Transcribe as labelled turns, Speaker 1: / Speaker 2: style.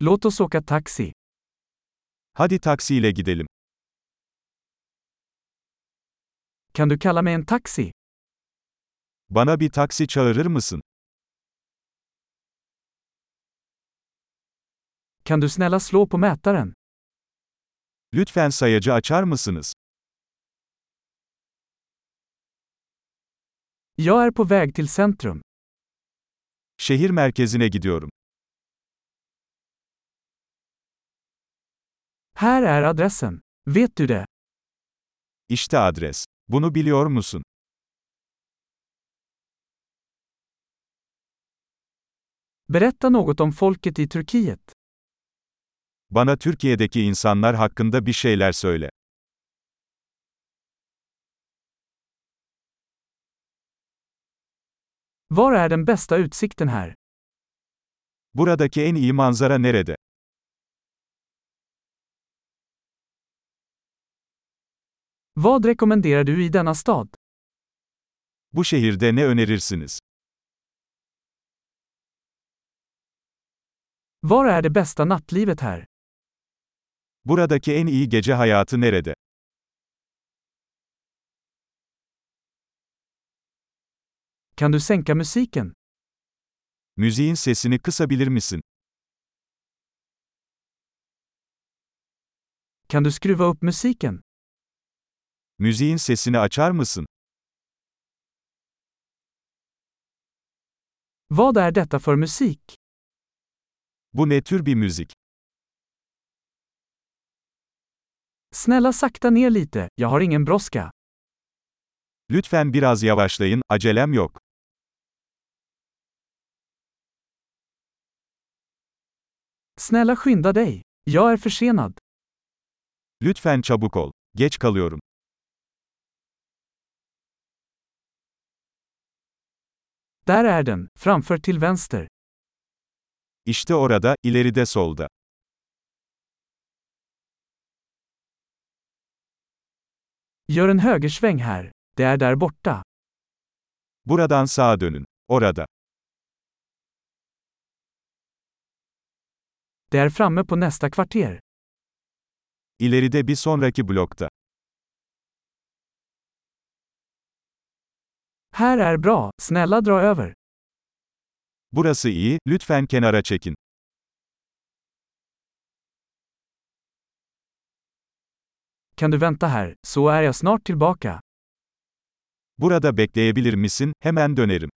Speaker 1: Låt oss åka taxi.
Speaker 2: Hadi taksiyle gidelim.
Speaker 1: Kan du kalla mig en taxi?
Speaker 2: Bana bir taksi çağırır mısın?
Speaker 1: Kan du snälla slå på mätaren?
Speaker 2: Lütfen sayacı açar mısınız?
Speaker 1: Jag är på väg till centrum.
Speaker 2: Şehir merkezine gidiyorum.
Speaker 1: Här är adressen. er Vet du det?
Speaker 2: İşte adres. Bunu biliyor musun?
Speaker 1: Berätta något om folket i Turkiet.
Speaker 2: Bana Türkiye'deki insanlar hakkında bir şeyler söyle.
Speaker 1: Var är den bästa utsikten här?
Speaker 2: Buradaki en iyi manzara nerede?
Speaker 1: Vad rekommenderar du i denna stad?
Speaker 2: Bu şehirde ne önerirsiniz?
Speaker 1: Var är det bästa nattlivet här?
Speaker 2: Buradaki en iyi gece hayatı nerede?
Speaker 1: Kan du sänka musiken?
Speaker 2: Müziğin sesini kısabilir misin?
Speaker 1: Kan du skruva upp musiken?
Speaker 2: Müziğin sesini açar mısın?
Speaker 1: Vad är detta för musik?
Speaker 2: Bu ne tür bir müzik?
Speaker 1: Snälla sakta ner lite, jag har ingen brådska.
Speaker 2: Lütfen biraz yavaşlayın, acelem yok.
Speaker 1: Snälla skynda dig. Jag är försenad.
Speaker 2: Lütfen çabuk ol. Geç kalıyorum.
Speaker 1: Där är den, framför till vänster.
Speaker 2: İşte orada, ileride solda.
Speaker 1: Gör en högersväng här. Det är där borta.
Speaker 2: Buradan sağa dönün. Orada.
Speaker 1: Det är framme på nästa kvarter.
Speaker 2: İleride bir sonraki blokta.
Speaker 1: Här är bra, snälla dra över.
Speaker 2: Burası iyi, lütfen kenara çekin.
Speaker 1: Kan du vänta här, så är jag snart tillbaka.
Speaker 2: Burada bekleyebilir misin? Hemen dönerim.